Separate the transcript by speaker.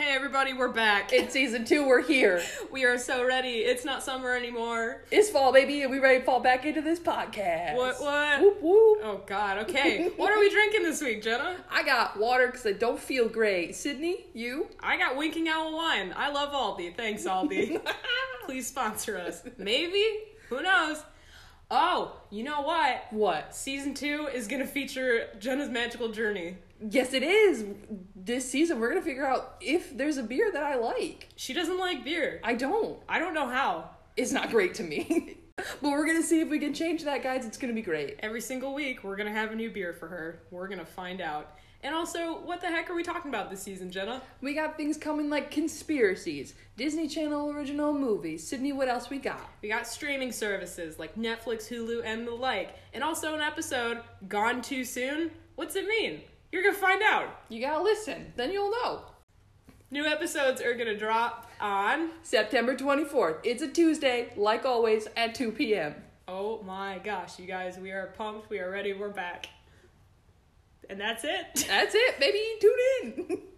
Speaker 1: everybody, we're back.
Speaker 2: It's season two. We're here.
Speaker 1: we are so ready. It's not summer anymore.
Speaker 2: It's fall, baby, and we ready to fall back into this podcast.
Speaker 1: What, what?
Speaker 2: Whoop whoop.
Speaker 1: Oh, God. Okay. what are we drinking this week, Jenna?
Speaker 2: I got water because I don't feel great. Sydney, you?
Speaker 1: I got Winking Owl wine. I love Aldi. Thanks, Aldi. Please sponsor us. Maybe. Who knows? Oh, you know what?
Speaker 2: What?
Speaker 1: Season two is going to feature Jenna's magical journey.
Speaker 2: Yes, it is. This season, we're gonna figure out if there's a beer that I like.
Speaker 1: She doesn't like beer.
Speaker 2: I don't.
Speaker 1: I don't know how.
Speaker 2: It's not great to me. but we're gonna see if we can change that, guys. It's gonna be great.
Speaker 1: Every single week, we're going to have a new beer for her. We're going to find out. And also, what the heck are we talking about this season, Jenna?
Speaker 2: We got things coming like conspiracies, Disney Channel original movies. Sydney, what else we got?
Speaker 1: We got streaming services like Netflix, Hulu, and the like. And also an episode, Gone Too Soon? What's it mean? You're gonna find out.
Speaker 2: You gotta listen, then you'll know.
Speaker 1: New episodes are gonna drop on.
Speaker 2: September 24th. It's a Tuesday, like always, at 2 p.m.
Speaker 1: Oh my gosh, you guys, we are pumped, we are ready, we're back. And that's it.
Speaker 2: That's it, baby. Tune in.